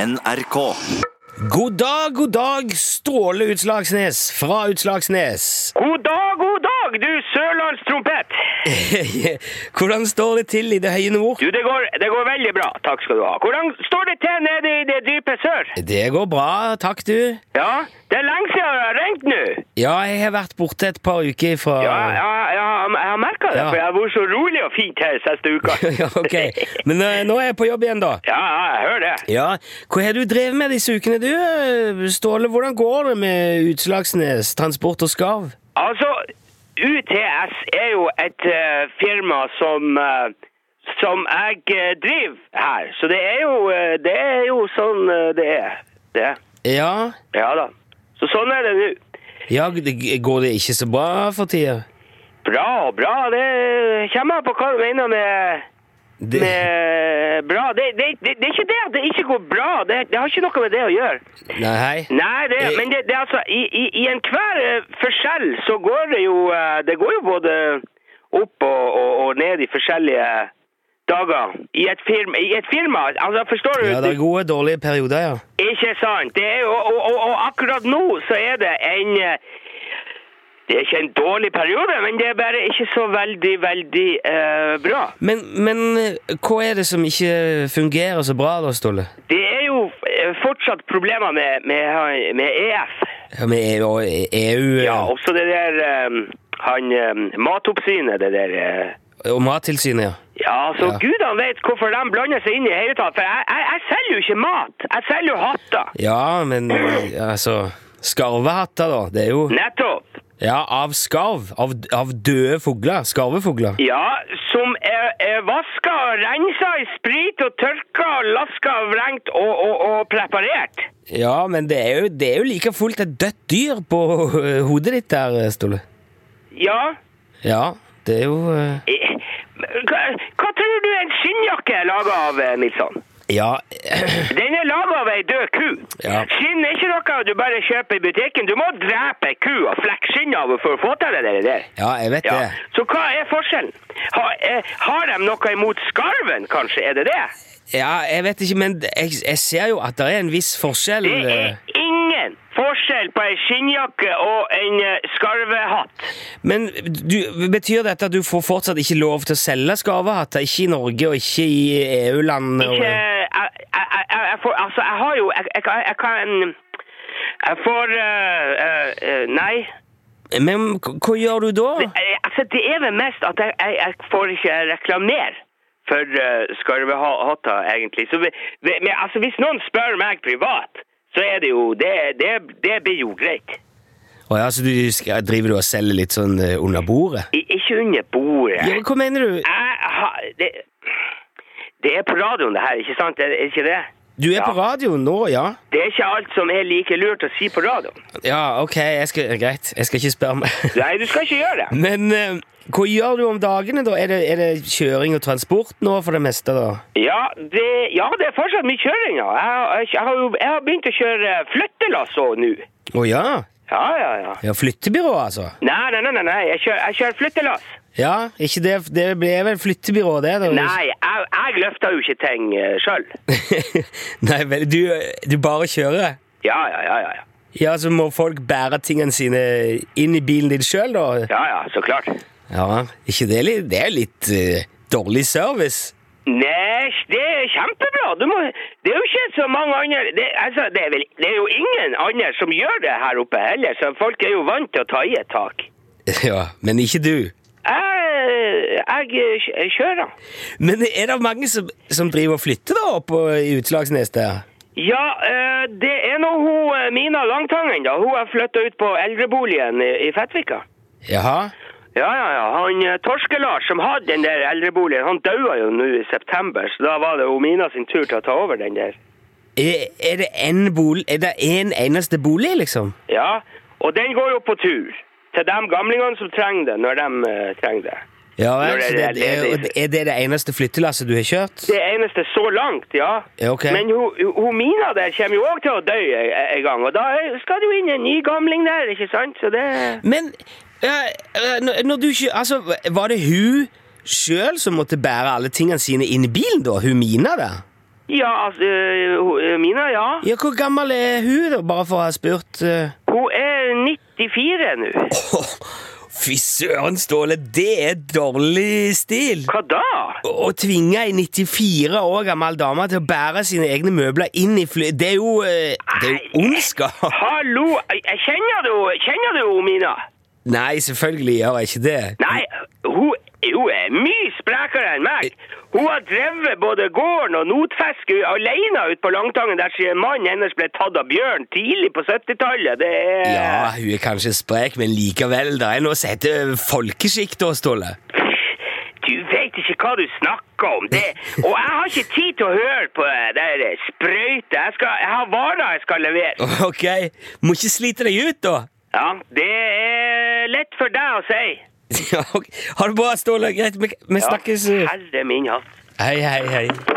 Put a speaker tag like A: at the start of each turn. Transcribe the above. A: NRK.
B: God dag, god dag, Ståle Utslagsnes fra Utslagsnes.
C: God dag, god dag, du sørlandstrompet!
B: Eh. Hvordan står det til i det høye nord?
C: Du, det går, det går veldig bra. Takk skal du ha. Hvordan står det til nede i det dype sør?
B: Det går bra, takk du.
C: Ja, det er lenge siden jeg har ringt nå.
B: Ja, jeg har vært borte et par uker fra
C: Ja, ja, ja, jeg har merka det,
B: Ah. Ja.
C: for jeg har vært så rolig og fint her siste uka.
B: Ja, ok. Men eh, nå er jeg på jobb igjen, da.
C: Ja, ja, jeg hører det.
B: Ja, Hva har du drevet med disse ukene, du, eh, Ståle? Hvordan går det med Utslagsnes, Transport og Skarv?
C: Altså, UTS er jo et eh, firma som eh, som jeg eh, driver her. Så det er jo, eh, det er jo sånn eh, det er. Det.
B: Ja,
C: Ja da. Så sånn er det nå.
B: ja det- Går det ikke så bra for tida?
C: Bra, bra. Det kommer an på hva du mener med,
B: Det-
C: med bra. Det, det, det, det er ikke det at det ikke går bra. Det, det har ikke noe med det å gjøre.
B: Nei, hei.
C: Nei, det,
B: Eh.
C: men det, det er altså I, i, i enhver eh, forskjell så går det jo eh, Det går jo både opp og, og, og ned i forskjellige dager. I et firma, i et firma altså forstår du?
B: Ja, det er gode, dårlige perioder, ja.
C: Ikke sant. Det er jo, og, og, og akkurat nå så er det en eh, Det er ikke en dårlig periode, men det er bare ikke så veldig, veldig eh, bra.
B: Men, men eh, hva er det som ikke fungerer så bra da, Ståle?
C: Det er jo eh, fortsatt problemer med, med, E med EF.
B: Ja, Med EU, og EU eh,
C: Ja, også det der eh, han eh, Matoppsynet, det der eh,
B: og Mattilsynet, ja.
C: Ja, så
B: Ja.
C: gudene vet hvorfor de blander seg inn i det hele tatt. For jeg, jeg, jeg selger jo ikke mat. Jeg selger jo hatter.
B: Ja, men eh, altså Skarvehatter, da. Det er jo
C: Nettopp.
B: Ja, av skarv. Av, av døde fugler. Skarvefugler.
C: Ja, som er, er vaska og rensa i sprit og tørka og laska og vrengt og, og, og preparert.
B: Ja, men det er jo, det er jo like fullt et dødt dyr på eh, hodet ditt der, eh, Ståle.
C: Ja.
B: Ja, det er jo eh,
C: eh, Hva, hva tror du en skinnjakke er laga av, eh, Nilsson?
B: Ja.
C: Den er laga av ei død ku.
B: Ja.
C: Skinn er ikke noe du bare kjøper i butikken. Du må drepe ei ku og flekke skinnet av henne for å få til det der. der.
B: Ja, jeg vet
C: Ja.
B: det.
C: Så hva er forskjellen? Har, eh, har de noe imot skarven, kanskje? Er det det?
B: Ja, jeg vet ikke, men jeg, jeg ser jo at det er en viss forskjell.
C: Det
B: eh,
C: er ingen forskjell på ei skinnjakke og en eh, skarvehatt.
B: Men du, betyr dette at du får fortsatt ikke lov til å selge skarvehatter? Ikke i Norge og ikke i EU-land? og-
C: Ikke jeg, jeg, jeg, jeg får Altså, jeg har jo Jeg, jeg, kan- jeg kan Jeg får eh, eh, eh, Nei.
B: Men hva hva gjør du da?
C: Jeg- Altså, det er vel mest at jeg, jeg, jeg får ikke reklamere for uh, skarvehatter, egentlig. Så vi, vi, men altså, hvis noen spør meg privat, så er det jo Det, det, det blir jo greit.
B: Å ja, så du skal- driver du og selger litt sånn eh, under bordet?
C: I, ikke under bordet.
B: Ja, hva mener du?
C: Jeg har det, det er på radioen, det her, ikke sant? Er er ikke det?
B: Du er på
C: Ja.
B: radioen nå, ja?
C: Det er ikke alt som er like lurt å si på radioen.
B: Ja, ok, jeg skal, greit. Jeg skal ikke spørre meg.
C: Nei, du skal ikke gjøre det.
B: Men eh, hva gjør du om dagene, da? Er det, er det kjøring og transport nå for det meste, da?
C: Ja, det, ja, det er fortsatt mye kjøring. Ja. Jeg, har- jeg, har jo- jeg har begynt å kjøre flyttelass òg nå.
B: Å ja?
C: Ja, ja, ja.
B: Ja, flyttebyrå, altså?
C: Nei, nei, nei, nei, nei. Jeg, kjører, jeg kjører flyttelass.
B: Ja, ikke det, det blir vel flyttebyrå, det? da?
C: Nei, jeg, jeg løfter jo ikke ting eh, sjøl.
B: Nei vel, du, du bare kjører?
C: Ja, ja, ja, ja, ja.
B: Ja, så må folk bære tingene sine inn i bilen din sjøl, da?
C: Ja, ja, så klart.
B: Ja, ikke det litt Det er litt eh, dårlig service.
C: Nei, det er kjempebra. Du må, det er jo ikke så mange andre det, altså, det, er vel, det er jo ingen andre som gjør det her oppe heller, så folk er jo vant til å ta i et tak.
B: Ja, men ikke du.
C: Jeg, jeg, jeg kjører.
B: Men er det mange som, som driver og flytter da oppå i Utslagsnes der?
C: Ja, eh, det er nå hun eh, Mina Langtangen, da. Hun har flytta ut på eldreboligen i, i Fettvika.
B: Jaha?
C: Ja, ja, ja. Han eh, Torske-Lars som hadde den der eldreboligen, han daua jo nå i september, så da var det hun Mina sin tur til å ta over den der.
B: Er, er det én bolig Er det én eneste bolig, liksom?
C: Ja, og den går jo på tur til de gamlingene som trenger det, når de eh, trenger det.
B: Ja
C: Når
B: vel?
C: det
B: så
C: er
B: det- det Er,
C: ledig.
B: er det det eneste flyttelasset du har kjørt?
C: Det eneste så langt, ja.
B: Ja, ok.
C: Men hun, hun Mina der kommer jo òg til å dø en en gang, og da er- skal det jo inn en ny gamling der, ikke sant? Så det
B: Men eh, eh, når- når du ikke Altså, var det hun sjøl som måtte bære alle tingene sine inn i bilen, da? Hun Mina der?
C: Ja, altså, eh, hun- eh, Mina, Ja.
B: Ja, Hvor gammel er hun, da, bare for å ha spurt? eh?
C: Hun er 94 nå.
B: Åh, Fy søren, Ståle, det er dårlig stil!
C: Hva da?
B: Å å tvinge ei 94 år gammel dame til å bære sine egne møbler inn i fly... Det er jo, eh, det er jo ondskap!
C: Hallo, jeg- jeg kjenner du Kjenner du henne, Mina?
B: Nei, selvfølgelig gjør jeg ikke det.
C: Nei, hun, hun er mye sprekere enn meg. Hun har drevet både gården og notfisket alene ute på Langtangen der siden mannen hennes ble tatt av bjørn tidlig på 70-tallet. Det er
B: Ja, hun er kanskje sprek, men likevel, det er noe som heter folkeskikk da, Ståle.
C: Du vet ikke hva du snakker om. Det. Og jeg har ikke tid til å høre på det der sprøytet. Jeg, skal- jeg har varer jeg skal levere.
B: Ok, må ikke slite deg ut da.
C: Ja, det er lett for deg å si.
B: Ja, ok. Ha det bra, Ståle. Greit, vi, vi snakkes. eh.
C: Ja, herre min hatt.
B: Hei, hei, hei.